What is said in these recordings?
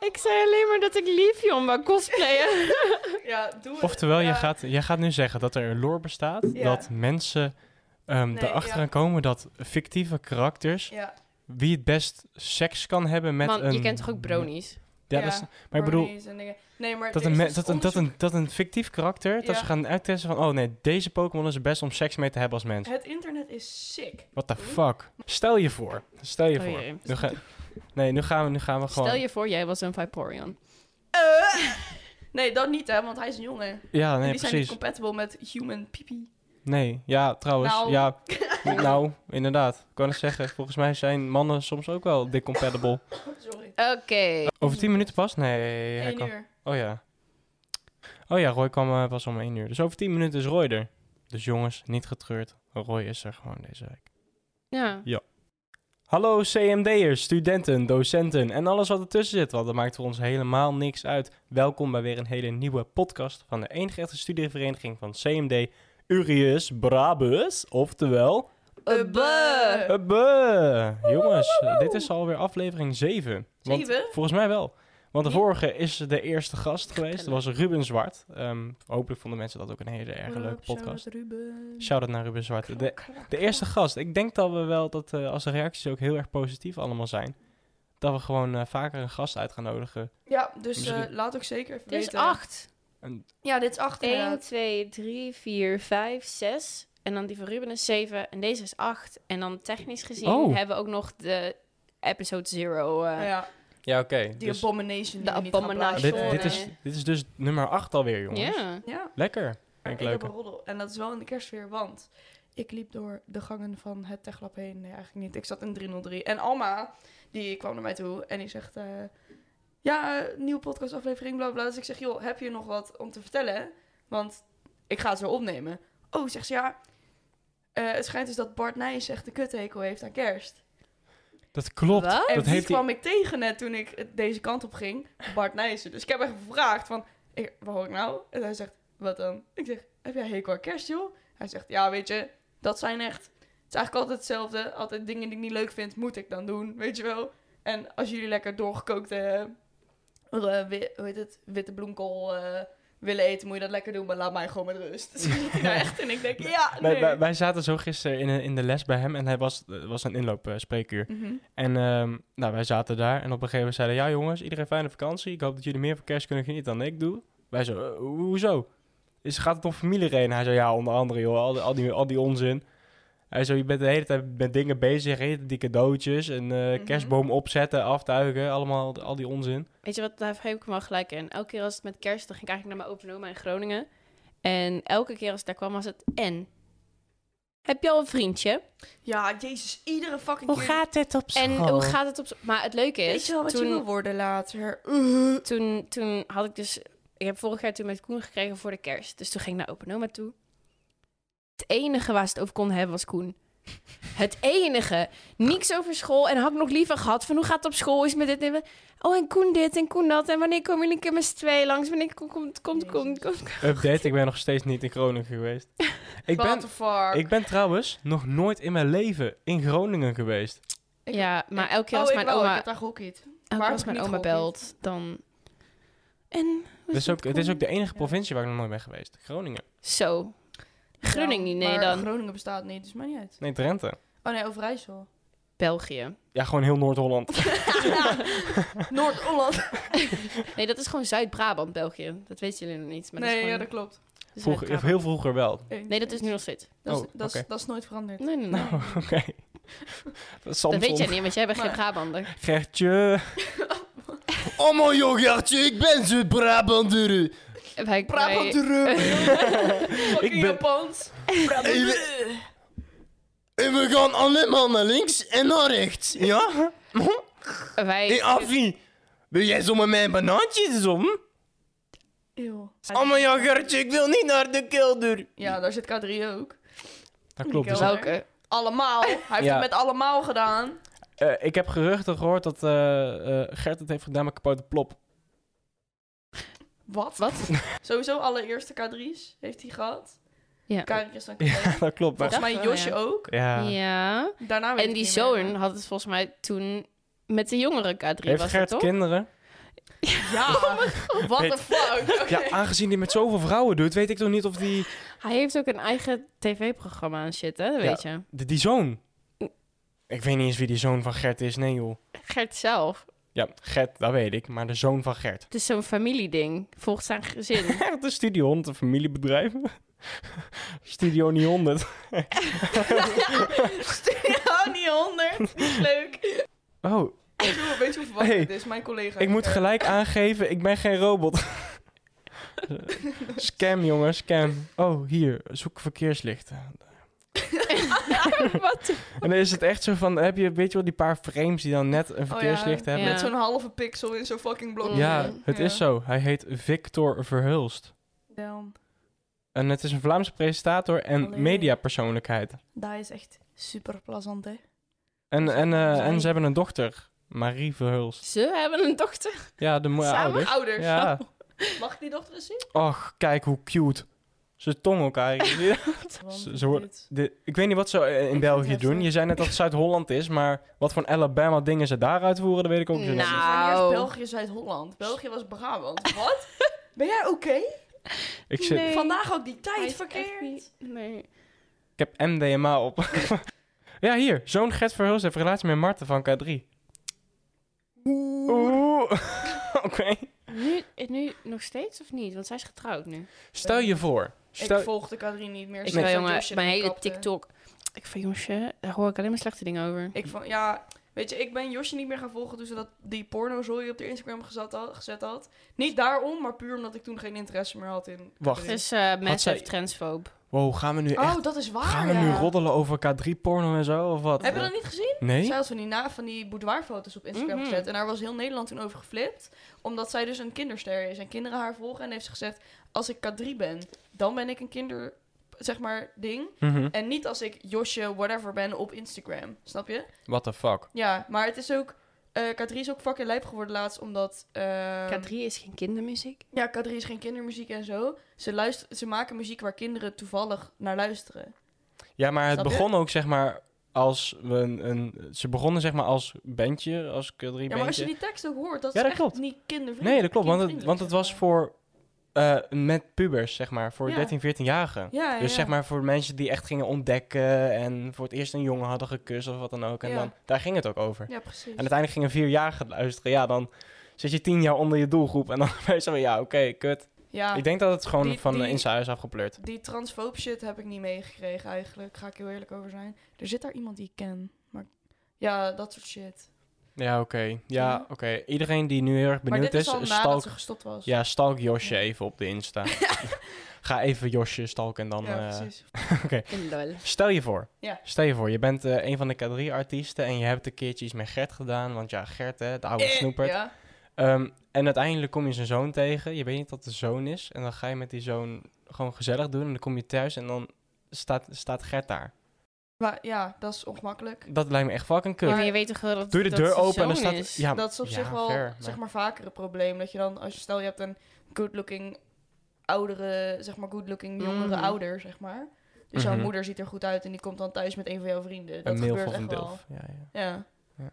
Ik zei alleen maar dat ik Livion wou cosplayen. Ja, doe het. Oftewel, ja. jij, gaat, jij gaat nu zeggen dat er een lore bestaat Ja. dat mensen ehm Nee, erachter ja. gaan komen dat fictieve karakters Ja, wie het best seks kan hebben met Man, een... je kent toch ook bronies? Ja, Ja, dat is- maar ik bedoel, hornies en dingen. Nee, maar dat er een, is me- dus dat, een, dat, een, dat een fictief karakter, dat Ja. ze gaan uittesten van... Oh nee, deze Pokémon is het best om seks mee te hebben als mens. onderzoek- Het internet is sick. What the fuck? Stel je voor. Stel je Oh, voor. jee. Nu ga- nee, nu gaan we, nu gaan we gewoon... Stel je voor, jij was een Vaporeon. Eh, nee, dat niet hè, want hij is een jongen. Ja, En nee, die zijn niet precies. compatible met human pipi. Nee, ja, trouwens. Nou. Ja, nou, inderdaad. Ik kan het zeggen. Volgens mij zijn mannen soms ook wel dick compatible. Sorry. Oké. Over 10 minuten pas? Nee, hij Eén kan... uur. Oh ja. Oh ja, Roy kwam eh, pas om 1 uur. Dus over 10 minuten is Roy er. Dus jongens, niet getreurd. Roy is er gewoon deze week. Ja. Hallo CMD'ers, studenten, docenten en alles wat ertussen zit, want dat maakt voor ons helemaal niks uit. Welkom bij weer een hele nieuwe podcast van de enige echte studievereniging van CMD, Urius Brabus, oftewel... Eh, buh. Hubbe! Jongens, dit is alweer aflevering 7. Want, Zeven? Volgens mij wel. Want de Ja. vorige is de eerste gast geweest, dat Gelukkig. was Ruben Zwart. Ehm, hopelijk vonden mensen dat ook een hele erg leuke Shout-out podcast. Ruben. Shout-out naar Ruben Zwart. De, Klak, klak, de eerste gast. Ik denk dat we wel, dat eh, als de reacties ook heel erg positief allemaal zijn, dat we gewoon eh, vaker een gast uit gaan nodigen. Ja, dus eh, Misschien- laat ook zeker even Dit is weten. acht. En, Ja, dit is acht 1, inderdaad. 2, 3, 4, 5, 6. En dan die van Ruben is 7. En deze is 8. En dan technisch gezien Oh. hebben we ook nog de episode 0. eh, Ja, ja, oké. die dus- abomination die De we niet gaan abomination. dit, plaatsen. dit, is, Sorry. dit is dus nummer 8 alweer, jongens. ja. Ja. Lekker. Maar Vind ik ik heb leuk. een roddel. En dat is wel in de kerstsfeer, want ik liep door de gangen van het Techlab heen. Nee, eigenlijk niet. Ik zat in 303. En Alma, die kwam naar mij toe en die zegt... eh, ja, eh, nieuwe podcastaflevering, bla bla. Dus ik zeg, joh, heb je nog wat om te vertellen? Want ik ga het zo opnemen. Oh, zegt ze, ja... eh, het schijnt dus dat Bart Nijs echt de kuthekel heeft aan kerst. Dat klopt. Wat? En Dat die heeft hij- Oh, kwam ik tegen net toen ik eh, deze kant op ging. Bart Nijssen. Dus ik heb hem gevraagd van, eh, wat hoor ik nou? En hij zegt, wat dan? Ik zeg, heb jij hekel aan kerst, joh? Hij zegt, ja, weet je, dat zijn echt... Het is eigenlijk altijd hetzelfde. Altijd dingen die ik niet leuk vind, moet ik dan doen, weet je wel? En als jullie lekker doorgekookte, eh, eh, wi- hoe heet het, witte bloemkool eh, willen eten, moet je dat lekker doen, maar laat mij gewoon met rust. Dus zit hij daar echt en ik denk, ja, Wij, nee. wij, wij zaten zo gisteren in, in de les bij hem en hij was, eh, was een inloopspreekuur. Mhm. En ehm, nou, wij zaten daar en op een gegeven moment zeiden... Ja jongens, iedereen fijne vakantie. Ik hoop dat jullie meer van kerst kunnen genieten dan ik doe. Wij zo, "Eh, ho- hoezo? Is, gaat het om familiereden? Hij zei, ja, onder andere joh, al, die- al, die, al die onzin. Hij zo, je bent de hele tijd met dingen bezig. Hele tijd die cadeautjes en eh, Mhm. kerstboom opzetten, aftuigen. Allemaal al die onzin. Weet je wat, daar heb ik hem wel gelijk in. Elke keer als het met kerst, dan ging ik eigenlijk naar mijn open oma in Groningen. En elke keer als ik daar kwam, was het en. Heb je al een vriendje? Ja, jezus, iedere fucking keer... het op En hoe gaat het op... z- Maar het leuke is... Weet je wel wat toen, je wil worden later? toen, toen had ik dus... Ik heb vorig jaar toen met Koen gekregen voor de kerst. Dus toen ging ik naar open oma toe. Het enige waar ze het over kon hebben was Koen. Het enige. Niks over school. En had ik nog liever gehad van hoe gaat het op school? Is het met dit en met- Oh, en Koen dit en Koen dat. En wanneer komen jullie een keer met z'n tweeën langs? Wanneer komt, komt, komt, komt, komt, Update, ik ben nog steeds niet in Groningen geweest. ik, What ben, the fuck? ik ben trouwens nog nooit in mijn leven in Groningen geweest. Ik- ja, maar elke keer Oh, als ik mijn wel, oma, Ik heb daar gehockeyd. elke keer heb als ik mijn niet oma geholpen. belt, dan... En... hoe Het is, het ook, het is ook de enige Ja. provincie waar ik nog nooit ben geweest. Groningen. Zo. Groningen Ja, niet, nee maar dan. Groningen bestaat niet, dus maakt niet uit. Nee, Drenthe. Oh nee, Overijssel. België. Ja, gewoon heel Noord-Holland. Noord-Holland. Nee, dat is gewoon Zuid-Brabant, België. Dat weten jullie nog niet. Maar Nee, dat is ja, gewoon dat klopt. Vroeger, Zuid-Brabant. heel vroeger wel. Nee, dat is nu nog steeds. Dat is, Oh, dat, is, oké. dat is nooit veranderd. Nee, nee, nee. Nou, oké. Dat is dat weet jij Samson. niet, want jij bent geen Maar- Brabander. Gertje. oh mijn jong, Gertje, ik ben zo'n Brabander. Wij- wij- Fucking ben- Japans. En we gaan allemaal naar links en naar rechts. Ja? Wij... Avi, wil jij zo met mijn banaantjes om? Eeuw. jong, Oh Gertje, ik wil niet naar de kelder. Ja, daar zit K3 ook. Dat klopt. Mikkel. Wel- dus- Welke? Allemaal. Hij heeft Ja. het met allemaal gedaan. Eh, ik heb geruchten gehoord dat eh, eh, Gert het heeft gedaan met kapotte plop. Wat? Wat? Sowieso allereerste K3's heeft hij gehad. Ja. Karin Christian Ja, Volgens dat klopt. maar- Wat? mij Dacht wel, Josje ja. ook. Ja. Ja. Daarna weet En ik die niet meer. zoon had het volgens mij toen met de jongere K3 Heeft was Gert dat, toch? kinderen? Ja, Oh what the fuck. Oké. Ja, aangezien die met zoveel vrouwen doet, weet ik toch niet of die... Hij heeft ook een eigen tv-programma en shit, hè? Dat Ja. weet je. Die, die zoon. Ik weet niet eens wie die zoon van Gert is, nee joh. Gert zelf. Ja, Gert, dat weet ik, maar de zoon van Gert. Het is zo'n familieding. Volgens zijn gezin. Echt een Studio 100, een familiebedrijf. Studio niet 100. Studio niet 100. Die is leuk. Oh, Weet je hoe- weet je hoe verwacht Hey, dit is? Mijn collega. ik moet Eh, gelijk aangeven, ik ben geen robot. scam jongen, scam. Oh, hier, zoek verkeerslichten. Wat? En dan is het echt zo van, heb je, weet je wel, die paar frames die dan net een verkeerslicht hebben. Oh Ja. Met zo'n halve pixel in zo'n fucking blok. Ja, Mm. het is Ja. zo. Hij heet Victor Verhulst. Damn. En het is een Vlaamse presentator en Allee. mediapersoonlijkheid. Dat is echt super plezant, hè? En, en, eh, Zij. en ze hebben een dochter, Marie Verhulst. Ze hebben een dochter. Ja, de moeder. Samen ouders. ouders. Ja. Mag ik die dochter eens zien? Och, kijk hoe cute. Ze tong elkaar. Want ze worden- dit- De- ik weet niet wat ze eh, in vind België het doen. heftig. Je zei net dat het Zuid-Holland is, maar wat voor Alabama dingen ze daar uitvoeren, dat weet ik ook niet. Nou. Wanneer is Au. België Zuid-Holland? België was Brabant. Wat? Ben jij oké? Ik, zit, Nee. Vandaag ook die Hij tijd is echt verkeerd. niet- Nee. ik heb MDMA op. ja, hier. Zoon Gert Verhulst heeft relatie met Marten van K3. Oeh. Oké. Nu, nu nog steeds of niet? Want zij is getrouwd nu. Dus Stel je voor. Stel, Ik volgde Katrien niet meer. Ik sinds wel, dat jongen, Josje mijn erin hele kapte. TikTok. Ik van jongetje, daar hoor ik alleen maar slechte dingen over. Ik van, ja, weet je, ik ben Josje niet meer gaan volgen toen ze dat, die pornozooi op de Instagram gezet had, gezet had. Niet daarom, maar puur omdat ik toen geen interesse meer had in... Wacht. Het Katrien. is eh massive zij- transphobe. wow, gaan we nu echt... Oh, dat is waar, Gaan we ja. nu roddelen over K3-porno en zo, of wat? Heb je dat niet gezien? Nee? Zij had van die, na, van die boudoirfoto's op Instagram Mhm. gezet. En daar was heel Nederland toen over geflipt. Omdat zij dus een kinderster is. En kinderen haar volgen. En heeft ze gezegd, als ik K3 ben, dan ben ik een kinder... Zeg maar, ding. Mhm. En niet als ik Josje whatever ben op Instagram. Snap je? What the fuck? Ja, maar het is ook... eh, K3 is ook fucking lijp geworden laatst, omdat... ehm, K3 is geen kindermuziek. Ja, K3 is geen kindermuziek en zo. Ze, luisteren, ze maken muziek waar kinderen toevallig naar luisteren. Ja, maar het Snap je? begon ook, zeg maar, als we een, een... Ze begonnen, zeg maar, als bandje, als K3-bandje. Ja, maar als je die tekst ook hoort, dat Ja, is dat echt klopt. niet kindervriendelijk. Nee, dat klopt, want het, kindvriendelijk, want het zeg was maar. voor... eh, met pubers, zeg maar, voor Ja. 13, 14-jarigen. Ja, ja, Dus ja. zeg maar voor mensen die echt gingen ontdekken en voor het eerst een jongen hadden gekust of wat dan ook. En Ja. dan, daar ging het ook over. Ja, dus- precies. En uiteindelijk gingen vierjarigen luisteren. Ja, dan zit je tien jaar onder je doelgroep en dan ben je zo van, ja, oké, kut. Ja, Ik denk dat het gewoon Die- van eh, die- die... Insta is afgepleurd. die transfoob shit heb ik niet meegekregen eigenlijk. Ga ik heel eerlijk over zijn. Er zit daar iemand die ik ken. Maar ja, dat soort shit. Ja, oké. Ja, Ja. oké. Iedereen die nu heel erg maar benieuwd dit is, al nadat stalk, ze gestopt was. ja, stalk Josje Ja. even op de Insta. Ga even Josje stalken en dan... Ja, eh, precies. Lol. stel je voor. Ja. Stel je voor, je bent eh, een van de K3-artiesten en je hebt een keertje iets met Gert gedaan. Want ja, Gert, hè, de oude Eh, snoepert. Ja. Ehm, en uiteindelijk kom je zijn zoon tegen. Je weet niet dat de zoon is. En dan ga je met die zoon gewoon gezellig doen. En dan kom je thuis en dan staat, staat Gert daar. Maar ja, dat is ongemakkelijk. Dat lijkt me echt fucking kut. Ja, maar je weet toch wel dat Doe je de dat deur ze open en dan zoon staat... is? Ja, dat is op ja, zich wel fair, maar- zeg maar vaker een probleem. Dat je dan, als je stel je hebt een good-looking oudere, zeg maar good-looking jongere Mhm. ouder, zeg maar. Dus jouw Mm. Mhm. moeder ziet er goed uit en die komt dan thuis met een van jouw vrienden. Dat een gebeurt mail echt van een wel. dilf. Ja, ja. Ja. Ja.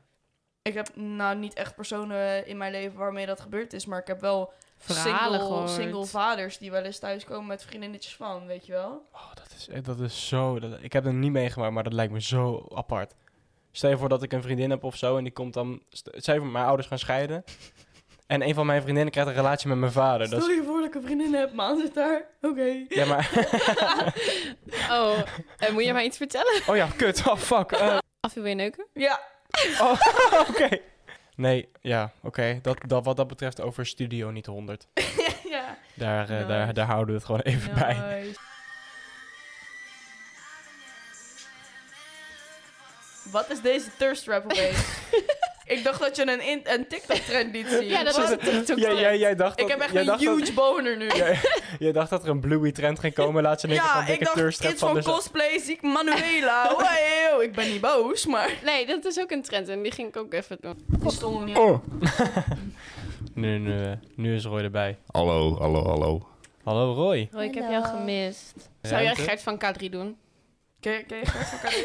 Ik heb nou niet echt personen in mijn leven waarmee dat gebeurd is, maar ik heb wel Verhalen single, gehoord. single vaders die wel eens thuiskomen met vriendinnetjes van, weet je wel? Oh, dat is, eh, dat is zo... dat- ik heb het niet meegemaakt, maar dat lijkt me zo apart. Stel je voor dat ik een vriendin heb of zo en die komt dan... st- Stel je voor, mijn ouders gaan scheiden. En een van mijn vriendinnen krijgt een relatie met mijn vader. Dat Stel is, je voor dat ik een vriendin heb, man zit daar. Oké. ja, maar... Oh, en moet je mij iets vertellen? Oh ja, kut. Oh, fuck. Eh, Af je weer neuken? Ja, Oh, oké. Nee, ja, oké. Dat, dat, wat dat betreft over Studio niet 100. ja. Daar, eh, Nice. daar, daar houden we het gewoon even bij. Nice. Wat is deze thirst rap opeens? ik dacht dat je een, in- een TikTok-trend liet zien. Ja, dat was het TikTok. Jij, jij, jij dacht Ik dat, heb echt jij een dacht huge boner nu. Dat, jij, jij dacht dat er een Bluey trend ging komen. Laat ze niks Ja, van ik dikke dacht deurstrap iets van van de zo- cosplay zie ik Manuela. Oei, eeuw, ik ben niet boos, maar... Nee, dat is ook een trend en die ging ik ook even doen. Die stonden niet Oh. nu, nu, eh, nu is Roy erbij. Hallo, hallo, hallo. Hallo Roy. Oh, ik heb Hallo. jou gemist. Zou jij Ruimte? Gert van K3 doen? Ken ken je Gert van Carré?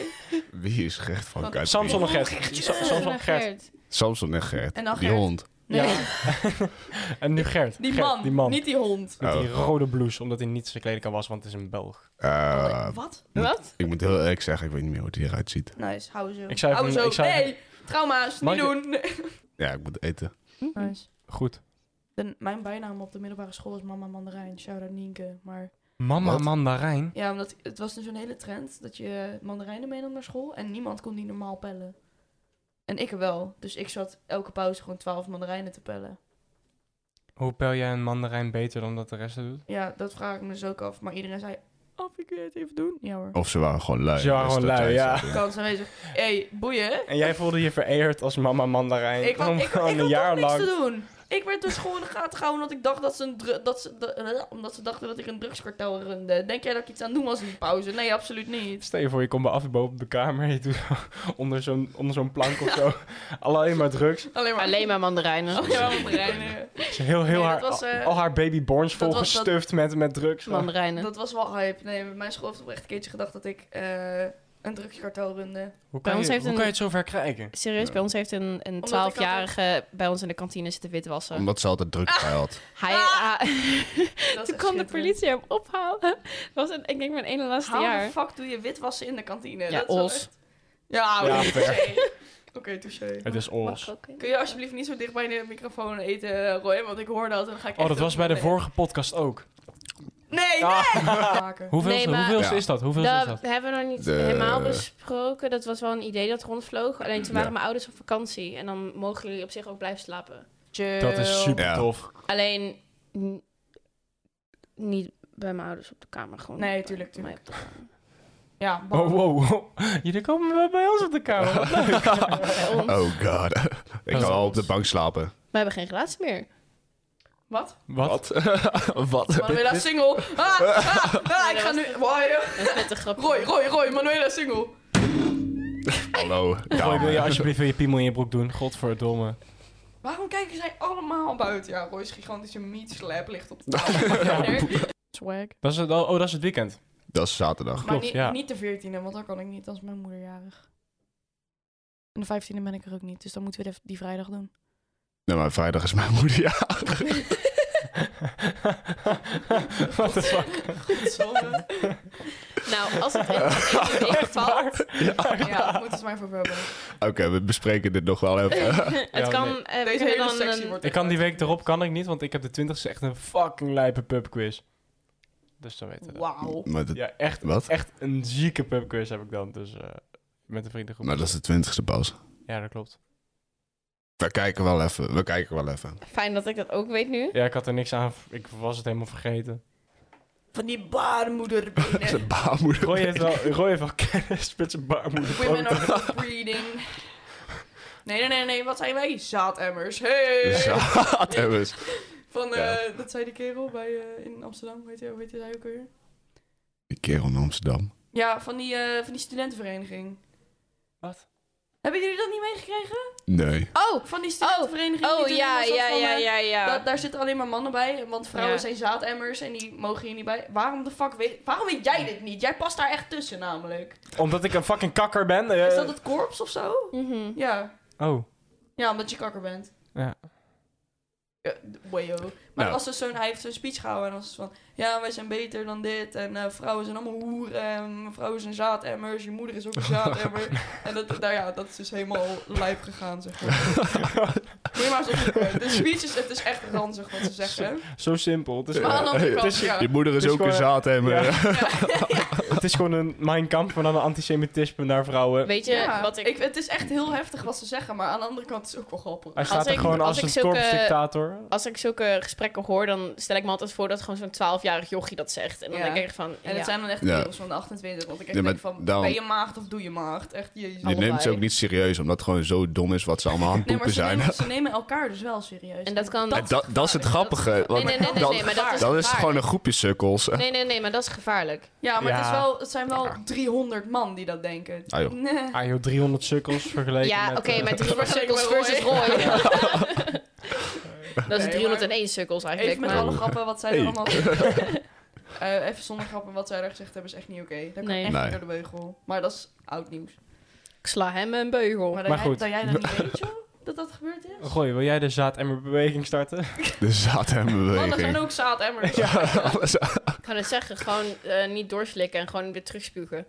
Wie is Gert van Wat- Kuiper? Samson en Gert. Oh, Gertje. Sa- Samson en Gert. Samson en Gert. En dan Die Gert. hond. Nee. Ja. en nu Gert. Die Gert, man, die man. niet die hond. Met die Oh. rode blouse, omdat hij niet zijn kleding was, want het is een Belg. Eh, Oh, Wat? moet- Wat? ik moet heel eerlijk zeggen, ik weet niet meer hoe het hieruit ziet. Nice, hou zo. Ik zou hou even- zo. ik zou even- nee, trauma's, Mag niet ik- doen. Nee. Ja, ik moet eten. Nice. Goed. De- mijn bijnaam op de middelbare school is Mama Mandarijn. Shout-out Nienke. Maar Mama Wat? Mandarijn. ja, omdat het was dus een hele trend dat je mandarijnen meenam naar school en niemand kon die normaal pellen. En ik wel. Dus ik zat elke pauze gewoon 12 mandarijnen te pellen. Hoe pel jij een mandarijn beter dan dat de rest het doet? Ja, dat vraag ik me dus ook af. Maar iedereen zei, of ik wil het even doen. Ja Oh. hoor. Of ze waren gewoon lui. Ze waren Dus gewoon dat lui, jij ja. zo- Kans aanwezig. hey, boeien. En jij voelde je vereerd als mama mandarijn. Ik, Om had, ik, ik gewoon had een toch jaar niks te lang. doen. Ik werd dus gewoon in de gaten gehouden omdat ik dacht dat ze een dru- dat ze de- eh, omdat ze dachten dat ik een drugskartel runde. Denk jij dat ik iets aan het doen was in die pauze? Nee, absoluut niet. Stel je voor, je komt bij Afibo op de kamer. Je doet zo- onder zo'n, onder zo'n plank of zo. Alleen maar drugs. Alleen maar Alleen maar mandarijnen. Oh, ja, maar reinen. Ze heel, heel Nee, haar, dat was, eh, al haar babyborns dat was- dat- volgestuft met, met drugs. Mandarijnen. Dat was wel hype. Nee, mijn school heeft oprecht een keertje gedacht dat ik eh, een drugskartel runde. Bij Hoe kan, ons je, heeft hoe een- kan je het zover krijgen? Serieus, bij ons heeft een, een ik altijd- 12-jarige bij ons in de kantine zitten witwassen. Omdat ze altijd druk bij had. Hij, Ah! hij- Dat toen kwam de politie hem ophalen. Dat was een, ik denk mijn ene laatste How jaar. the fuck doe je witwassen in de kantine? Ja, Dat is wel os. echt- Ja, Ja, oké, fair. touché. Oké, touché. Het is Mag ons. ook, hè? Kun je alsjeblieft niet zo dicht bij de microfoon eten, Roy? Want ik hoor dat en dan ga ik Oh, echt dat was ook- bij de Nee. vorige podcast ook. Nee, nee! Maken. Hoeveel Nee, maar- Ja. is dat? Hoeveel is Dat dat? hebben we nog niet De- helemaal besproken. Dat was wel een idee dat rondvloog. Alleen toen waren Ja. mijn ouders op vakantie. En dan mogen jullie op zich ook blijven slapen. Chill. Dat is super Ja. tof. Alleen n- niet bij mijn ouders op de kamer. Gewoon Nee, bij tuurlijk, mij tuurlijk. op de kamer. Ja, Wow, wow, wow. Jullie komen wel bij ons op de kamer. Wat leuk. Bij ons. Oh god. ik kan al op de bank slapen. We hebben geen relatie meer. Wat? Wat? Wat? Manuela single. Ah, ah, ah, ik ga nu... Roy, Dat is net een grapje. Roy, Roy, Roy, Manuela single. Hallo. Roy, wil je dame. alsjeblieft wil je piemel in je broek doen? Godverdomme. Waarom kijken zij allemaal buiten? Ja, Roy's gigantische meat slap ligt op de tafel. Swag. Dat is het, oh, dat is het weekend. Dat is zaterdag. Maar Klopt, niet, ja. niet de 14e, want dan kan ik niet, dan is mijn moeder jarig. En de 15e ben ik er ook niet, dus dan moeten we de- die vrijdag doen. Nee, maar vrijdag is mijn moeder jarig. What the fuck? Goed zo. Nou, als het echt tegenvalt... Ja, dat moeten ze maar voor hebben. Oké, we bespreken dit nog wel even. het Ja, kan... nee. eh, we Deze kunnen hele dan sectie een- wordt Ik kan die week erop kan ik niet, want ik heb de 20 echt een fucking lijpe pubquiz. Dus dan weten we. dat. Wauw. Maar, dat- Ja, echt, Wat? echt een zieke pubquiz heb ik dan. Dus eh, met een vriendengroep. maar dat is de twintigste pas. Ja, dat klopt. We kijken wel even. We kijken wel even. Fijn dat ik dat ook weet nu. Ja, ik had er niks aan. Ik was het helemaal vergeten. Van die baarmoeder Zijn baarmoeder. Roy heeft wel, Roy heeft wel kennis met zijn baarmoeder. Women are for breeding. Nee, nee, nee, nee. Wat zijn wij? Zaademmers. Hey! Zaterdag. Van, eh, Ja. dat zei die kerel bij, eh, in Amsterdam. Weet je, hoe heet hij ook weer? Die kerel in Amsterdam. Ja, van die, eh, van die studentenvereniging. Wat? Hebben jullie dat niet meegekregen? Nee. Oh! Van die studentenvereniging. die Oh, toen ja, een soort ja, van, ja, eh, ja, ja. da- daar zitten alleen maar mannen bij, want vrouwen Ja. zijn zaademmers en die mogen hier niet bij. Waarom de fuck weet, waarom weet jij dit niet? Jij past daar echt tussen namelijk. Omdat ik een fucking kakker ben. eh. Is dat het korps of zo? Mhm. Ja, Oh. ja omdat je kakker bent. Ja. Ja, d- wayo. Maar Nou. er was dus zo'n, hij heeft zo'n speech gehouden en was dus van... Ja, wij zijn beter dan dit en eh, vrouwen zijn allemaal hoeren en vrouwen zijn zaademmers. Je moeder is ook een zaademmer. en dat, nou ja, dat is dus helemaal lijp gegaan, zeg maar. Moet je maar eens opzoeken. De speech is, het is echt ranzig wat ze zeggen. Zo simpel. Het is, Maar aan de gewoon, andere Ja. kant, ja. Je moeder is Het is ook een gewoon- zaadhemmer. Ja. het is gewoon een mijn kamp, maar dan een antisemitisme naar vrouwen. Weet je Ja, wat ik... Het is echt heel heftig wat ze zeggen, maar aan de andere kant is het ook wel grappig. Hij staat er ik- gewoon als, als een ik zulke- korpsdictator. Als ik zulke gesprekken hoor, dan stel ik me altijd voor dat gewoon zo'n 12-jarig jochie dat zegt. En dan Ja. denk ik echt van... En het ja. zijn dan echt Ja. kerels van de 28, want ik echt Ja, maar denk van... daarom- Ben je maagd of doe je maagd? Echt, jezus. Je neemt ze ook niet serieus, omdat het gewoon zo dom is wat ze allemaal aan het Nee, maar poepen ze zijn. nemen, ze nemen elkaar dus wel serieus. En dat kan- En dat, dat is het grappige. Nee, Want nee, nee, nee, dan, nee, maar dat is dan is het gevaarlijk. gewoon een groepje sukkels. Nee, nee, nee, maar dat is gevaarlijk. Ja, maar Het, Ja. is wel, het zijn wel Ja. 300 man die dat denken. Ah, joh. Nee. Ah joh, 300 sukkels vergeleken ja, met... oké, eh, maar 300 Vergeleken cirkels versus met Roy. dat is maar- 301 cirkels eigenlijk. Even met maar- alle grappen wat zij er Hey. allemaal... Eh, even zonder grappen wat zij daar gezegd hebben is echt niet oké. Dat kan Nee. echt Nee. niet door de beugel. Maar dat is oud nieuws. Ik sla hem een beugel. Maar dat, Oh, jij, Maar goed. dat jij dat niet weet, joh? dat dat gebeurd is? Gooi, wil jij de zaademmerbeweging starten? De Mannen zijn zaadhemmenbeweging. ook zaademmers. Ja, alles aan- Ik kan het zeggen, gewoon eh, niet doorslikken en gewoon weer terugspugen.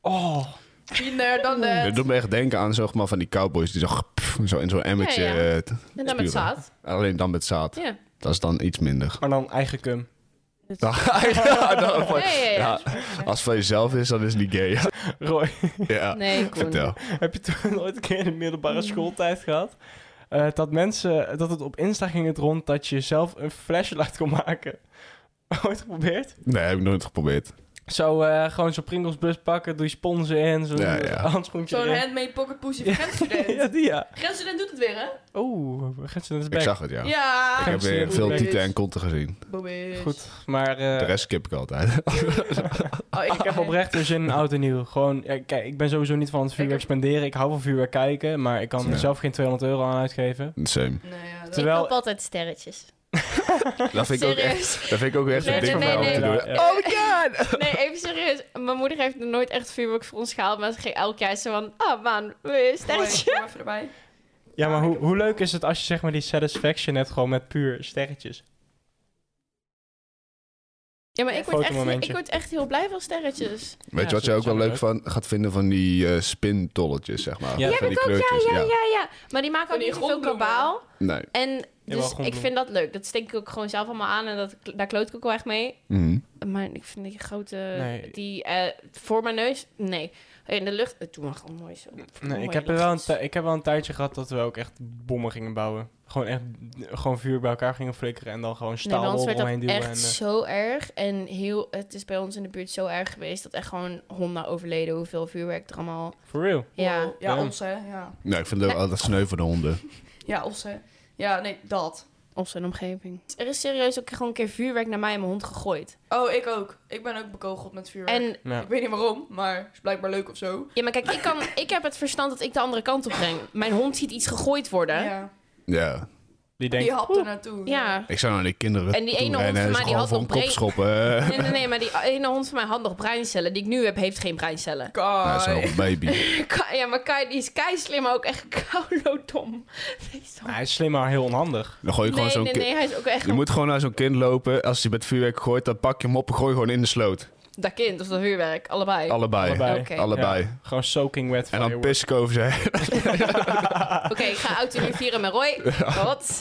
Oh, Minder dan Het net. doet me echt denken aan zeg maar, van die cowboys die zo, pff, zo in zo'n emmertje... Ja, ja. eh, t- En dan met Spugen. zaad. alleen dan met zaad. Ja. Dat is dan iets minder. maar dan eigen cum. Dan- ja, dan- Ja, ja, ja. Als het van jezelf is, dan is het niet gay. Ja, Roy, ja. Nee, Koen. Ah, vertel. heb je toen ooit een keer in de middelbare Hmm. schooltijd gehad? eh, dat mensen, dat het op Insta ging het rond dat je zelf een flashlight kon maken. Ooit geprobeerd? Nee, heb ik nooit geprobeerd. Zo, eh, gewoon zo'n Pringlesbus pakken, doe je sponsen in, zo'n Ja, ja, ja. handschoentje Zo'n erin. handmade pocket pussy van grensstudent. Ja, die ja. Grensstudent doet het weer, hè? Oeh, we gaan ze naar de Ik bek. zag het, ja. Ja. Ik heb Zeer weer goed, veel Beck. dus- tieten en konten gezien. Bobbage. Goed, Ah, maar De eh, rest skip ik altijd. Oh, ik, ik heb oprecht weer zin in oud en nieuw. Gewoon, ja, kijk, ik ben sowieso niet van het vuurwerk heb- spenderen. Ik hou van vuurwerk kijken, maar ik kan Ja. er zelf geen 200 euro aan uitgeven. Same. Nee, ja, dat- Ik Terwijl- koop altijd sterretjes. Dat vind ik ook echt, Serieus. dat vind ik ook echt Nee, een ding nee, van mij nee, om te nee. doen. Ja. Oh my god! Nee, even serieus. Mijn moeder heeft nog nooit echt vuurwerk voor ons gehaald. Maar ze ging elk jaar zo van... Ah, man, wil je een Mooi, sterretje? kom even erbij. Ja, maar hoe, hoe leuk is het als je zeg maar die satisfaction hebt gewoon met puur sterretjes? Ja, maar ik word, echt, Fotomomentje. ik word echt heel blij van sterretjes. Weet Ja, je wat je zo- ook wel zo leuk leuk. van gaat vinden van die eh spintolletjes, zeg maar. Ja, van die heb die ik ook. Ja, kleurtjes. ja, ja, ja. Maar die maken Van ook die niet zoveel grondbloemen. kabaal. Nee. En dus gewoon ik bloem. vind dat leuk. Dat steek ik ook gewoon zelf allemaal aan. En dat, daar kloot ik ook wel echt mee. Mhm. Maar ik vind die grote... Nee. Die eh, voor mijn neus... Nee. In de lucht... eh, Doe maar gewoon mooi zo. Nee, ik Mooie heb, er wel een luchtjes. tij- ik heb wel een tijdje gehad dat we ook echt bommen gingen bouwen. Gewoon echt gewoon vuur bij elkaar gingen flikkeren en dan gewoon Nee, bij staal ons nee, werd dat omheen echt duwen. En, eh, zo erg. En heel, het is bij ons in de buurt zo erg geweest... dat echt gewoon honden overleden. Hoeveel vuurwerk er allemaal... eh, for real. Ja. Wow. Ja, Ja. ons, hè. Ja. Nee, ik vind het ook altijd sneu voor de honden. Ja, ons, hè. Ja, nee, dat. Op zijn omgeving. Er is serieus ook gewoon een keer vuurwerk naar mij en mijn hond gegooid. Oh, ik ook. Ik ben ook bekogeld met vuurwerk. En Ja. Ik weet niet waarom, maar is blijkbaar leuk of zo. ja, maar kijk, ik, kan, ik heb het verstand dat ik de andere kant op breng. Mijn hond ziet iets gegooid worden. Ja. Ja. Ja. Die denkt, Die hapt er naartoe. Ik zou naar die kinderen En die toe ene hond rennen van en mij, ze die gewoon had voor een nog kop breed- schoppen. Nee, nee, nee, maar die ene hond van mij had nog breincellen. Die ik nu heb, heeft geen breincellen. Nou, Kai. zo'n baby. Ka- Ja, maar Kai, die is kei slim, maar ook echt kouloodom. Die is zo- nou, hij is slim maar heel onhandig. Dan gooi je gewoon Nee, zo'n nee, ki- nee, hij is ook echt Je moet gewoon naar zo'n kind lopen. Als hij met vuurwerk gooit, dan pak je hem op en gooi je gewoon in de sloot. dat kind of dat vuurwerk, allebei. Allebei. Allebei. Allebei. Oké, Ja, gewoon soaking wet En dan fireworks. piss ik over ze heen. Oké, ik ga auto nu vieren met Roy. Wat?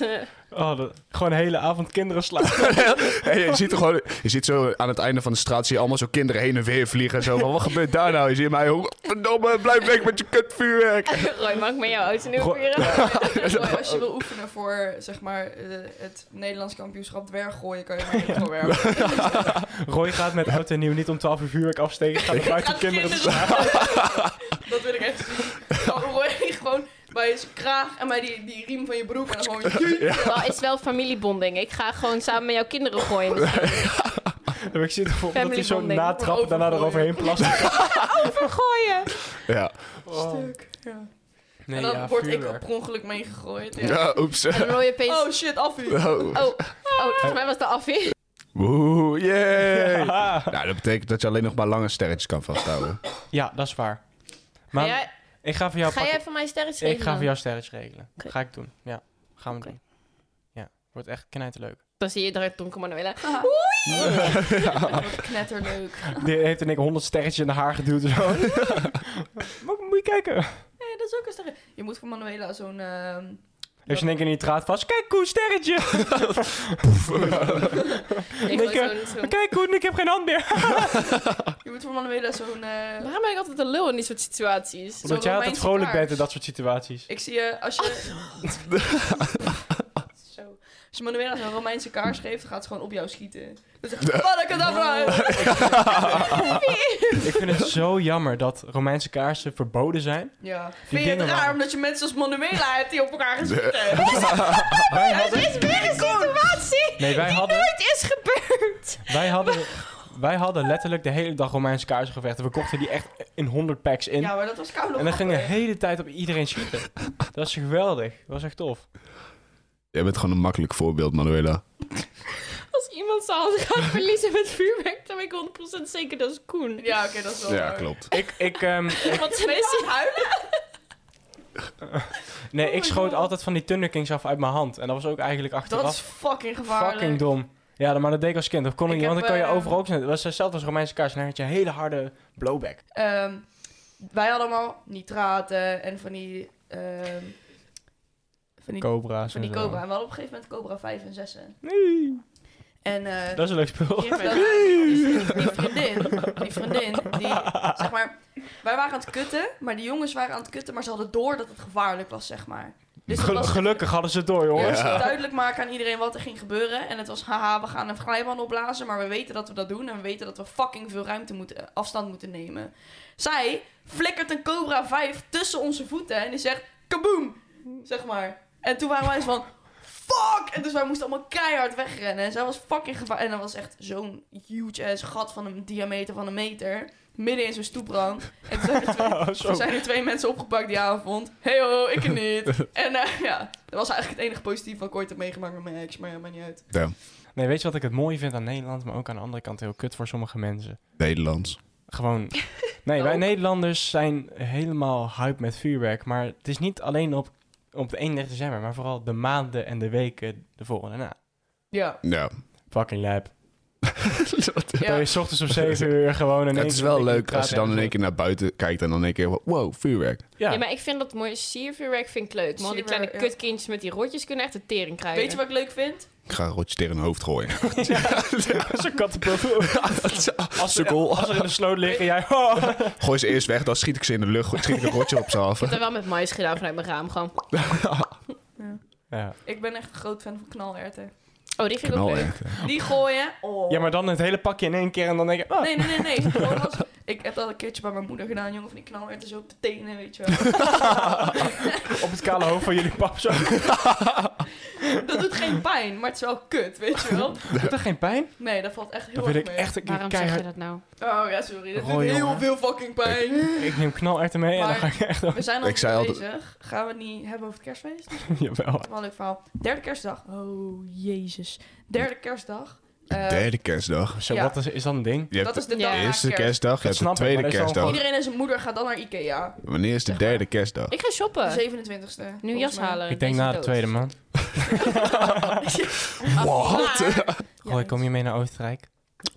Oh, dat- gewoon de hele avond kinderen slapen. En je ziet er gewoon, je ziet zo aan het einde van de straat, zie je allemaal zo kinderen heen en weer vliegen. en Zo van, wat gebeurt daar nou? Je ziet mij, hoe, verdomme, blijf weg met je kutvuurwerk. Roy, mag ik met jou auto nu Roy- vieren? Mooi, Dus als je wil oefenen voor zeg maar, eh, het Nederlands kampioenschap dwerggooien, kan je maar heel veel werken. Roy gaat met oud en nieuw niet om 12 uur vuurwerk afsteken. Gaat er buiten Gaat kinderen te kinderen slapen. Dat wil ik echt zien. Gewoon rooi je gewoon bij zijn kraag en bij die, die riem van je broek. En dan gewoon... Wel, is wel familiebonding. Ik ga gewoon samen met jouw kinderen gooien. Dus misschien. Heb ik zitten voor dat Family hij zo bonding. natrapt daarna Overgooien. eroverheen plast. Vergooien! Ja, Stuk. Ja. Nee, en dan ja, word ik vuurwerk. per ongeluk meegegooid. Ja. ja oeps. En Roy opeens... Oh, Oh shit, affie. Oh. oh, volgens mij was de affie. Woe, yay. Ah, Nou, dat betekent dat je alleen nog maar lange sterretjes kan vasthouden. ja, dat is waar. Ga Maar jij, ik ga voor jou ga pakken. jij van mij een sterretje Ik ga voor jou. jou sterretjes regelen. Oké. Ga ik doen. Ja, gaan we Oké. doen. Ja, wordt echt knijterleuk. Dan zie je eruit Tonke Manuela. Knetterleuk. Die heeft en ik 100 sterretjes in de haar geduwd. en Zo. Moet- Moet je kijken. Nee, dat is ook een sterk. Je moet voor Manuela zo'n... ehm, Heeft ze in één keer nitraat vast. Kijk hoe sterretje. Ik Nikke. wil zo'n- zo'n- Kijk hoe ik heb geen hand meer. je moet voor Manuela zo'n... eh, Waarom ben ik altijd een lul in die soort situaties? Omdat jij altijd Romeinse vrolijk kaars. bent in dat soort situaties. Ik zie je, als je... Zo. Als je Manuela zo'n Romeinse kaars geeft, dan gaat ze gewoon op jou schieten. Dan zegt ze, "Padakadabra." Ik vind het zo jammer dat Romeinse kaarsen verboden zijn. Ja. Vind je het dingen raar waren- omdat je mensen als Manuela hebt die op elkaar gaan zitten? Oh, Wij Er hadden, is weer een situatie nee, wij die hadden, nooit is gebeurd. wij, hadden, wij hadden letterlijk de hele dag Romeinse kaarsen gevechten. We kochten die echt in 100 packs in. Ja, maar dat was koude En dan gingen de grappen. hele tijd op iedereen schieten. Dat is geweldig. Dat was echt tof. Jij bent gewoon een makkelijk voorbeeld, Manuela. Als iemand zijn hand gaat verliezen met vuurwerk, dan ben ik 100% zeker dat is Koen. Ja, oké, dat is wel Ja, waar. klopt. Ik, ik, ehm, Want Ben dan je is aan het huilen? Nee, Oh ik my schoot God. altijd van die Thunder Kings af uit mijn hand. En dat was ook eigenlijk Dat achteraf is fucking gevaarlijk. fucking dom. Ja, dat- maar dat deed ik als kind. Dat kon ik, Ik niet, want heb, dan kon je eh, overal ook... zetten. Dat was hetzelfde als Romeinse kaars. En dan had je een hele harde blowback. Ehm, wij hadden allemaal nitraten en van die... ehm, van die, Cobra's van die cobra. En we hadden op een gegeven moment cobra 5 en 6. En eh, Dat is een leuk spul. Die vriendin, dus die vriendin, die vriendin, die, zeg maar, wij waren aan het kutten, maar die jongens waren aan het kutten, maar ze hadden door dat het gevaarlijk was, zeg maar. Dus het Gel- was gelukkig hadden ze het door, het was jongens. Ja. duidelijk maken aan iedereen wat er ging gebeuren. En het was, haha, we gaan een glijbaan opblazen, maar we weten dat we dat doen. En we weten dat we fucking veel ruimte moeten, afstand moeten nemen. Zij flikkert een Cobra 5 tussen onze voeten en die zegt, kaboom, zeg maar. En toen waren wij eens van, fuck! En dus wij moesten allemaal keihard wegrennen. En zij was fucking gevaar. En dat was echt zo'n huge ass gat van een diameter van een meter. Midden in zo'n stoeprand. En toen zijn er twee, Zo. toen zijn er twee mensen opgepakt die avond. Hey ho, ik het niet. En eh, ja, dat was eigenlijk het enige positief wat ik ooit heb meegemaakt met mijn ex. Maar ja, maakt niet uit. Damn. Nee, weet je wat ik het mooi vind aan Nederland, maar ook aan de andere kant heel kut voor sommige mensen? Nederlands. Gewoon. Nee, wij Ook. Nederlanders zijn helemaal hype met vuurwerk. Maar het is niet alleen op, op de 31 december, maar vooral de maanden en de weken de volgende na. Ja. Ja. Fucking lab. Ja. Dan je 's ochtends om 7 uur gewoon in één het is keer wel dikke leuk als je dan in één keer naar buiten kijkt en dan in één keer... Wow, vuurwerk. Ja, Ja, maar ik vind dat mooie siervuurwerk vind ik leuk. Man, die Siervuur- kleine ja. kutkindjes met die rotjes kunnen echt de tering krijgen. Weet je wat ik leuk vind? Ik ga een rotje tegen een hoofd gooien. dat is een kattenpul. Als, er- Sukkel. als er in de sloot liggen, jij... Gooi ze eerst weg, dan schiet ik ze in de lucht. Schiet ik een rotje op ze af. Ik heb dat wel met mais gedaan vanuit mijn raam gewoon. Ja. Ik ben echt een groot fan van knalherten. Oh, die vind ik ook Knal, leuk. hè. Die gooien. Oh. ja, maar dan het hele pakje in één keer en dan denk je... ah. Nee, nee, nee, nee. Gewoon als- ik heb dat een keertje bij mijn moeder gedaan, jongen. Van die knalherten zo op de tenen, weet je wel. op het kale hoofd van jullie pap zo. Dat doet geen pijn, maar het is wel kut, weet je wel. Doet dat geen pijn? Nee, dat valt echt heel Dan erg wil ik mee. echt een keer Waarom zeg je dat keihard... nou? Oh ja, sorry. Dat doet Rooi, heel jongen. veel fucking pijn. Ik neem knalerten mee en Maar- dan ga ik echt... We zijn al Ik zei altijd- bezig. Gaan we het niet hebben over het kerstfeest? Dat Jawel. is wel een leuk verhaal. Derde kerstdag. Oh, jezus. Derde kerstdag. Eh, Derde kerstdag. Zo, Ja. Eh, wat is, is dat een ding? Je hebt Dat is de Ja. dag de na eerste kerst. kerstdag, je Dat hebt de snap ik, tweede maar dat is wel kerstdag. Iedereen en zijn moeder gaat dan naar Ikea. Wanneer is de Zeg maar. derde kerstdag? Ik ga shoppen. De 27e. Nu jas halen. Ik denk na de tweede, man. Wat? Goh, ik kom je mee naar Oostenrijk.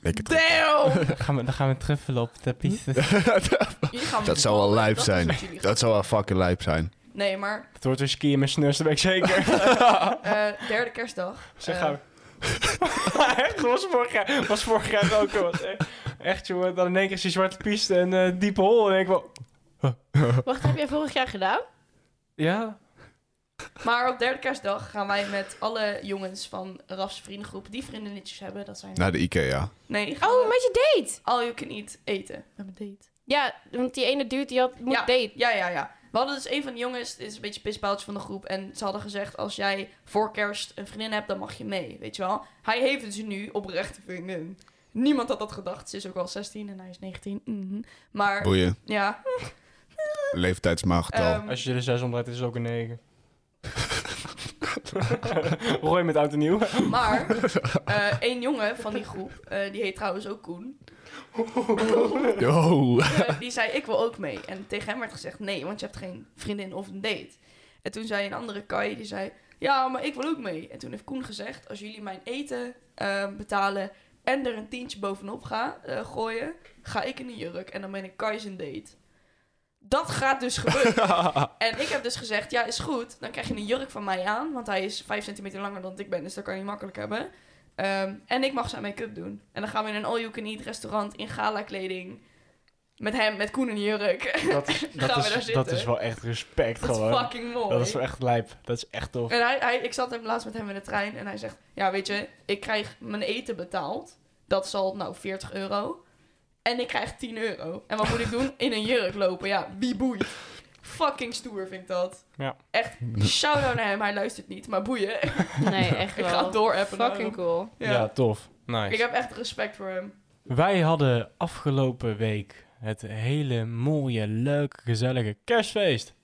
Ik het- Damn! Dan gaan we, dan gaan we truffelen op Hm? de piste. Jullie gaan Dat zou wel lijp Dat is zijn. wat jullie gaan Dat zou wel fucking lijp zijn. doen. Nee, maar Het wordt weer skiën met snus, dat weet ik zeker. eh, derde kerstdag. Zeg Eh, gauw. echt, was vorig jaar, was vorig jaar ook. Was echt, echt, jongen. Dan in één keer is die zwarte piste en eh, diepe hol. En ik wel... Wacht, heb jij vorig jaar gedaan? Ja? Maar op derde kerstdag gaan wij met alle jongens van Raf's vriendengroep die vriendinnetjes hebben. Dat zijn. Naar de Ikea. Nee, gaan Oh, we met je date! all you can eat eten. We hebben date. Ja, want die ene dude die had moet date. Ja, ja, ja. We hadden dus een van de jongens, dit is een beetje pisbaaltje van de groep. En ze hadden gezegd, als jij voor kerst een vriendin hebt, dan mag je mee, weet je wel. Hij heeft dus nu oprecht een vriendin. Niemand had dat gedacht. Ze is ook al 16 en hij is 19. mhm. Maar Boeien. ja, Leeftijdsmaaggetal. ehm, Als je de 6 omdraait, is het ook een 9. Rooi met oud en nieuw. maar eh, één jongen van die groep, eh, die heet trouwens ook Koen. Ehm. Yo. Eh, die zei, ik wil ook mee. En tegen hem werd gezegd, nee, want je hebt geen vriendin of een date. En toen zei een andere Kai, die zei, ja, maar ik wil ook mee. En toen heeft Koen gezegd, als jullie mijn eten eh, betalen en er een tientje bovenop ga, eh, gooien, ga ik in de jurk en dan ben ik Kai zijn date. Dat gaat dus gebeuren. en ik heb dus gezegd, ja, is goed. Dan krijg je een jurk van mij aan, want hij is 5 centimeter langer dan ik ben, dus dat kan je niet makkelijk hebben. Ehm, en ik mag zijn make-up doen. En dan gaan we in een all-you-can-eat restaurant in gala-kleding. Met hem, met Koen in de jurk. Dat is, Gaan dat we is, daar dat zitten? is wel echt respect Dat is gewoon. fucking mooi. Dat is wel echt lijp. Dat is echt tof. En hij, hij, ik zat hem laatst met hem in de trein en hij zegt: Ja, weet je, ik krijg mijn eten betaald. Dat zal nou 40 euro. En ik krijg 10 euro. En wat moet ik doen? In een jurk lopen. Ja, wie boeit? Fucking stoer vind ik dat. Ja. Echt, shout out naar hem. Hij luistert niet, maar boeien. Nee, echt Ik wel. ga doorappen. Fucking cool. Ja. Ja, tof. Nice. Ik heb echt respect voor hem. Wij hadden afgelopen week het hele mooie, leuke, gezellige kerstfeest.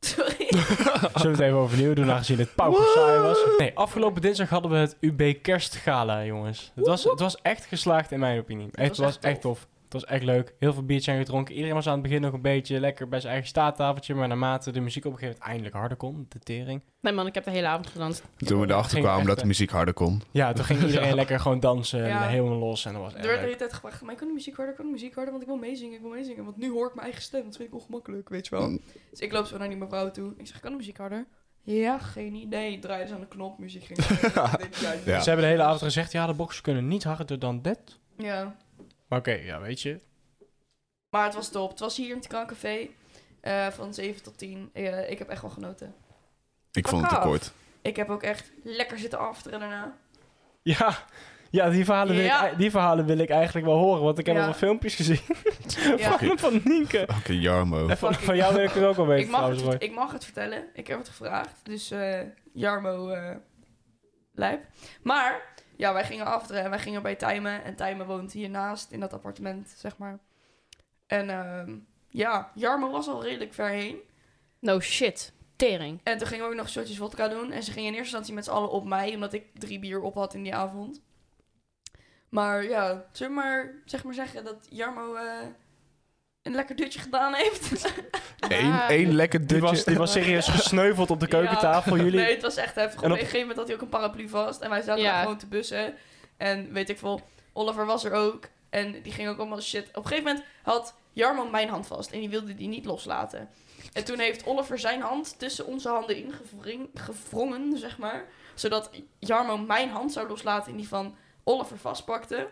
Sorry. Zullen we het even overnieuw doen, aangezien het paupersaai was? Nee, afgelopen dinsdag hadden we het UB Kerstgala, jongens. Het was, het was echt geslaagd in mijn opinie. Echt, het was was echt echt tof. Het was echt leuk. Heel veel biertjes zijn gedronken. Iedereen was aan het begin nog een beetje lekker bij zijn eigen staattafeltje. Maar naarmate de muziek op een gegeven moment eindelijk harder kon, de tering. Nee man, ik heb de hele avond gedanst. Toen we erachter Ging kwamen echt, dat de eh, muziek harder kon. Ja, toen ging iedereen lekker gewoon dansen. en Ja. Helemaal los. En dat was echt Er werd de leuk. hele tijd gevraagd, maar ik kan de muziek harder, kan de muziek harder, want ik wil meezingen, ik wil meezingen. Want nu hoor ik mijn eigen stem, dat vind ik ongemakkelijk, weet je wel. Mm. Dus ik loop zo naar die mevrouw toe. Ik zeg, kan de muziek harder? Ja, geen idee. Draaide ze aan de knop, muziek ging harder. Ik denk, ja, Ja. Ze hebben de hele avond gezegd, ja, de boxers kunnen niet harder dan dit. ja. Maar oké, ja, weet je. Maar het was top. Het was hier in het Krancafé eh, van 7 tot 10. Eh, ik heb echt wel genoten. Ik vond het te Fuck off. kort. Ik heb ook echt lekker zitten afteren daarna. Ja, ja, die, verhalen wil Ja. Ik, die verhalen wil ik eigenlijk wel horen. Want ik heb Ja. al wat filmpjes gezien Ja. van, van Nienke. Oké, Jarmo. En van, Fucking- van jou wil ik het ook wel weten Ik mag, het, trouwens, Roy. vert- ik mag het vertellen. Ik heb het gevraagd. Dus eh, Jarmo eh lijp. Maar ja, wij gingen afteren en wij gingen bij Tijmen. En Tijmen woont hiernaast in dat appartement, zeg maar. En ehm, ja, Jarmo was al redelijk ver heen. No shit. Tering. En toen gingen we ook nog shotjes vodka doen. En ze gingen in eerste instantie met z'n allen op mij, omdat ik drie bier op had in die avond. Maar ja, zullen we maar, zeg maar zeggen dat Jarmo eh, een lekker dutje gedaan heeft. Eén één lekker Die was, dutje. die was serieus gesneuveld op de keukentafel, Ja. jullie. Nee, het was echt heftig. Op En een op- gegeven moment had hij ook een paraplu vast. En wij zaten Ja. daar gewoon te bussen. En weet ik veel, Oliver was er ook. En die ging ook allemaal shit. Op een gegeven moment had Jarmo mijn hand vast. En die wilde die niet loslaten. En toen heeft Oliver zijn hand tussen onze handen ingevrongen, zeg maar. Zodat Jarmo mijn hand zou loslaten en die van Oliver vastpakte.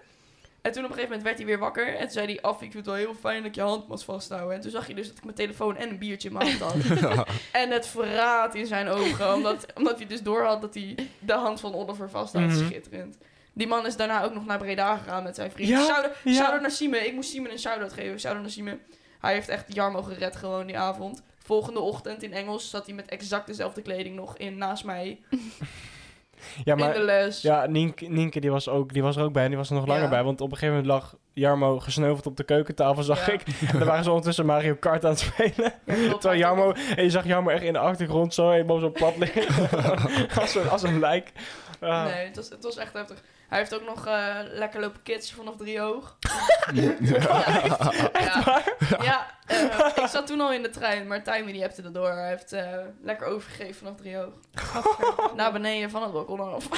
En toen op een gegeven moment werd hij weer wakker. En toen zei hij, af, ik vind het wel heel fijn dat je hand moet vasthouden. En toen zag je dus dat ik mijn telefoon en een biertje in mijn hand had. En het verraad in zijn ogen. Omdat, omdat hij dus doorhad dat hij de hand van Oliver vast had. Mhm. Schitterend. Die man is daarna ook nog naar Breda gegaan met zijn vrienden. Ja, shout-out, ja. shout-out naar Sime. Ik moest Sime een shout-out geven. Shout-out naar Sime. Hij heeft echt Jarmo gered gewoon die avond. Volgende ochtend in Engels zat hij met exact dezelfde kleding nog in naast mij. Ja, in maar de les. ja, Nienke, Nienke die, was ook, die was er ook bij en die was er nog Ja. langer bij. Want op een gegeven moment lag Jarmo gesneuveld op de keukentafel, zag Ja. ik. En daar waren ze ondertussen Mario Kart aan het spelen. Ja, klopt. Terwijl Jarmo, en je zag Jarmo echt in de achtergrond zo helemaal op zo'n pad liggen. als, een, als een lijk. Ah. Nee, het was, het was echt heftig. Hij heeft ook nog eh, lekker lopen kitsen vanaf driehoog. Nou, ja. Ja, eh, ik zat toen al in de trein, maar Timmy die hebte dat door. Hij heeft eh, lekker overgegeven vanaf driehoog. Naar beneden van het balkon af.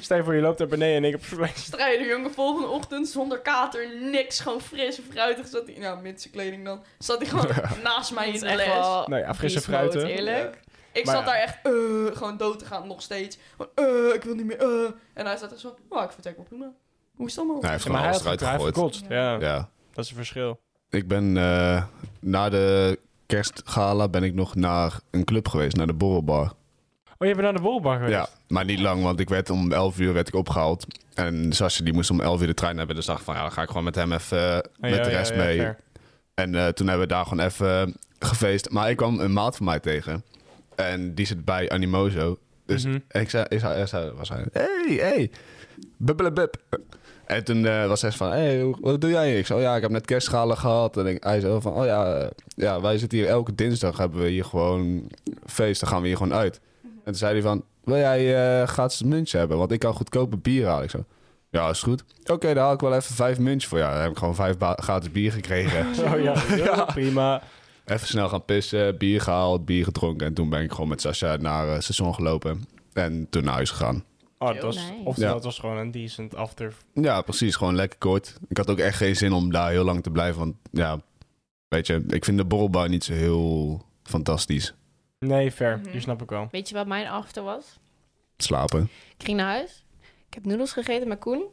Stel je voor, je loopt daar beneden en ik heb verwezen. Strijder jongen, volgende ochtend zonder kater, niks. Gewoon fris en fruitig zat hij, nou mits zijn kleding dan, zat hij gewoon naast mij in de les. Nou ja, frisse beast mode, fruiten. Eerlijk. Ik Maar zat ja. daar echt eh, gewoon dood te gaan, nog steeds. Van, eh, ik wil niet meer, eh. En hij zat er zo, oh, ik vertrek wel prima. Hoe is het allemaal? Hij heeft Maar gewoon hij alles heeft, eruit hij heeft gegooid. gekotst. Ja. Ja. dat is het verschil. Ik ben eh, na de kerstgala ben ik nog naar een club geweest, naar de borrelbar. Oh, je bent naar de bolbar geweest? Oh, Ja, maar niet lang, want ik werd om 11 uur werd ik opgehaald. En Sasje die moest om 11 uur de trein hebben. Dus dacht ik van ja, dan ga ik gewoon met hem even eh, Ah, met ja, de ja, rest ja, mee. fair. En eh, toen hebben we daar gewoon even eh, gefeest. Maar ik kwam een maat van mij tegen. En die zit bij Animozo. Dus Mhm. ik zei, ik zei, ik zei- was hij, hey, hey, bubbelebub. En toen eh, was hij van, hey, hoe- wat doe jij hier? Ik zei, oh ja, ik heb net kerstschalen gehad. En ik, hij zei van, oh ja, eh, ja, wij zitten hier elke dinsdag, hebben we hier gewoon feest, dan gaan we hier gewoon uit. En toen zei hij van, wil jij eh, gratis muntje hebben? Want ik kan goedkope bier halen. Ik zo, ja, is goed. Oké, dan haal ik wel even vijf muntjes voor jou. Dan heb ik gewoon vijf ba- gratis bier gekregen. Oh ja, ja, prima. Even snel gaan pissen, bier gehaald, bier gedronken. En toen ben ik gewoon met Sasha naar eh, het station gelopen. En toen naar huis gegaan. Oh, dat Heel was, nice. Oftewel, Ja. het was gewoon een decent after. Ja, precies. Gewoon lekker kort. Ik had ook echt geen zin om daar heel lang te blijven. Want ja, weet je, ik vind de borrelbar niet zo heel fantastisch. Nee, fair. Mhm. Die snap ik wel. Weet je wat mijn after was? Slapen. Ik ging naar huis. Ik heb noedels gegeten met Koen.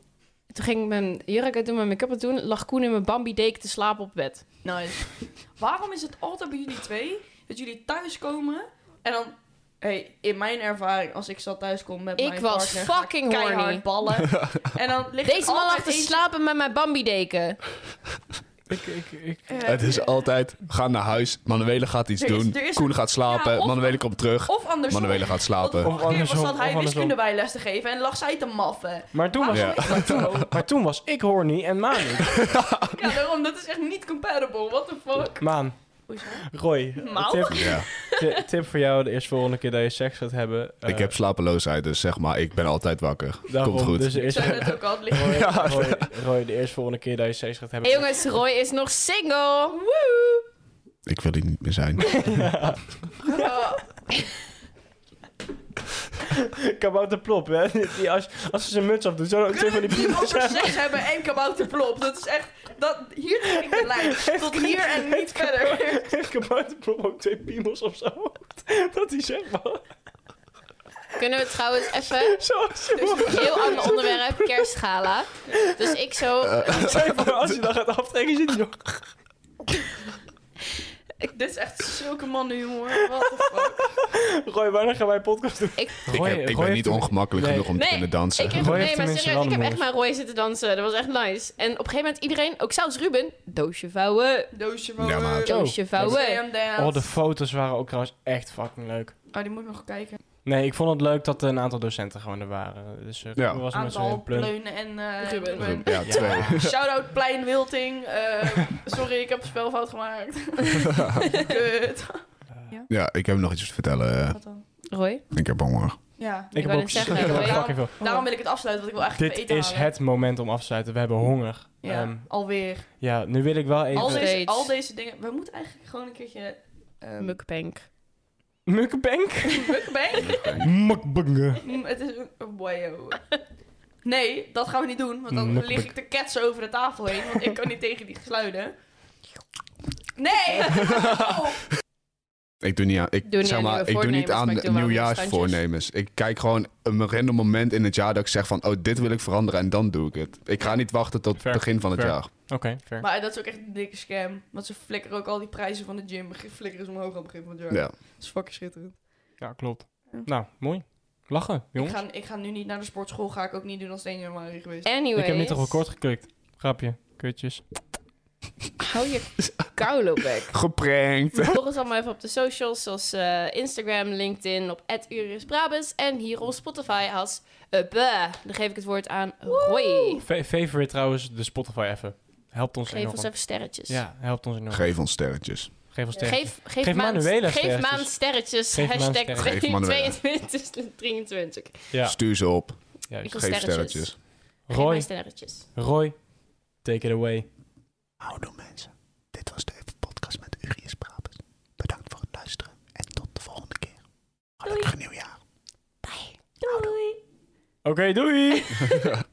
Toen ging ik mijn jurk uit doen, mijn make-up uit doen. Lag Koen in mijn Bambi deken te slapen op bed. Nice. Waarom is het altijd bij jullie twee dat jullie thuiskomen en dan... hey, in mijn ervaring, als ik zat thuiskom met Ik mijn was partner... ga ik fucking keihard horny. ballen. en dan ligt Deze man lag te slaap. slapen met mijn Bambi deken. Ik, ik, ik, Het is altijd, ga naar huis. Manuele gaat iets Eh, Er is- doen. er is- Koen gaat slapen. Ja, of- Manuele komt terug. Of andersom. Manuele gaat slapen. Want de vorige keer andersom, was dat of hij andersom. wiskunde bijles te geven en lag zij te maffen. maar, toen was, Ja. Waarom is dat zo? maar toen was ik horny en Maan niet. Ja, daarom, dat is echt niet compatible. What the fuck? Maan, Hoezo? Roy, Mouw? tip, Ja. ti- tip voor jou de eerste volgende keer dat je seks gaat hebben. eh, ik heb slapeloosheid, dus zeg maar, ik ben altijd wakker. daarom, Komt goed. Dus de Ik eerste, zei net ook al, het ligt Roy, Roy, Roy, de eerste volgende keer dat je seks gaat hebben. Hey jongens, Roy is nog single. Woe! Ik wil hier niet meer zijn. Eh, Kabouter plop, hè? Die als, als ze zijn muts afdoet, zo zo van die Kunnen we het piemels over zijn. seks hebben en kabouterplop? Dat is echt... Dat, hier trek ik de lijn. Tot hier en niet verder. Heeft kabouter plop ook twee piemels op zijn hoofd? Dat hij zegt, man. Kunnen we trouwens even... Zoals je Een heel ander onderwerp, kerstgala. Dus ik Eh, zo... Zeg maar, als je dan gaat aftrekken, zit hij nog. Ik- dit is echt zulke mannen, jongen. What the fuck? Roy, wanneer gaan wij een podcast doen? Ik, ik, heb- ik ben niet ongemakkelijk Nee. genoeg om te Nee, kunnen dansen. ik heb, Roy heeft nee, maar tenminste serieus, ik heb wel echt een maar Roy zitten dansen. Dat was echt nice. En op een gegeven moment iedereen, ook zelfs Ruben, doosje vouwen, Doosje van... Ja, maar- eh, Oh, doosje vouwen. Slam dance. Oh, de foto's waren ook trouwens echt fucking leuk. Oh, die moet ik nog kijken. Nee, ik vond het leuk dat een aantal docenten gewoon er waren. Dus eh Ja. Roy was er met z'n Aantal allen plun. pleunen en eh Ruben. Ruben. Ja, twee. Shoutout Plein Wilting. Eh, sorry, ik heb een spelfout gemaakt. Kut. Ja, ik heb nog iets te vertellen. Eh, Wat dan? Roy? Ik heb honger. Ja. Ik heb wou ook, net zeggen, ik heb ook Roy. fucking veel. Daarom wil ik het afsluiten, want ik wil eigenlijk Oh. Dit even eten is halen. het moment om af te sluiten. We hebben honger. Ja, Ehm, alweer. ja, nu wil ik wel Al even... Alweer. deze, Steeds. al deze dingen... We moeten eigenlijk gewoon een keertje... Um, Mukbank. Mukbank? Mukbang? Mukbangen. Mm, het is een- een boyo. Nee, dat gaan we niet doen, want dan Mukbang. lig ik de ketsen over de tafel heen, want ik kan niet tegen die gesluiden. Nee! Oh. Ik doe niet aan, ik, Doe niet zeg aan maar, nieuwe ik doe niet voornemens, aan maar ik doe wel aan nieuwjaarsvoornemens. Ik kijk gewoon een random moment in het jaar dat ik zeg van... oh, dit wil ik veranderen en dan doe ik het. Ik ga niet wachten tot Fair. het begin van het Fair. jaar. Oké, fair. Maar dat is ook echt een dikke scam, want ze flikkeren ook al die prijzen van de gym. Flikkeren ze omhoog aan het begin van het jaar. Ja. Dat is fucking schitterend. Ja, klopt. Ja. Nou, mooi. Lachen, Ik jongens. Ik, ga, ik ga nu niet naar de sportschool, ga ik ook niet doen als het 1 januari geweest. Anyway. heb niet op record geklikt. Grapje. Kutjes. Hou je koulo bek. Geprankt! Volg ons allemaal even op de socials, zoals eh, Instagram, LinkedIn, op Urius Brabus en hier op Spotify als eh, Buh. Dan geef ik het woord aan Roy. Fa- favorite trouwens, de Spotify even. Helpt ons Geef enorm. ons even sterretjes. Ja, helpt ons enorm. Geef ons sterretjes. Geef ons sterren. Geef, geef, Geef Maan- Manuela geef sterretjes. Maan sterretjes. Geef Maan hashtag sterretjes. Geef Manuela. 22, 23. Ja, Stuur ze op. Ik juist. wil Geef sterretjes. sterretjes. Geef Maan Roy, sterretjes. Roy, take it away. Houdoe mensen. Dit was de Even Podcast met Urius Brabus. Bedankt voor het luisteren en tot de volgende keer. Gelukkig nieuwjaar. Doei. Oké, doei!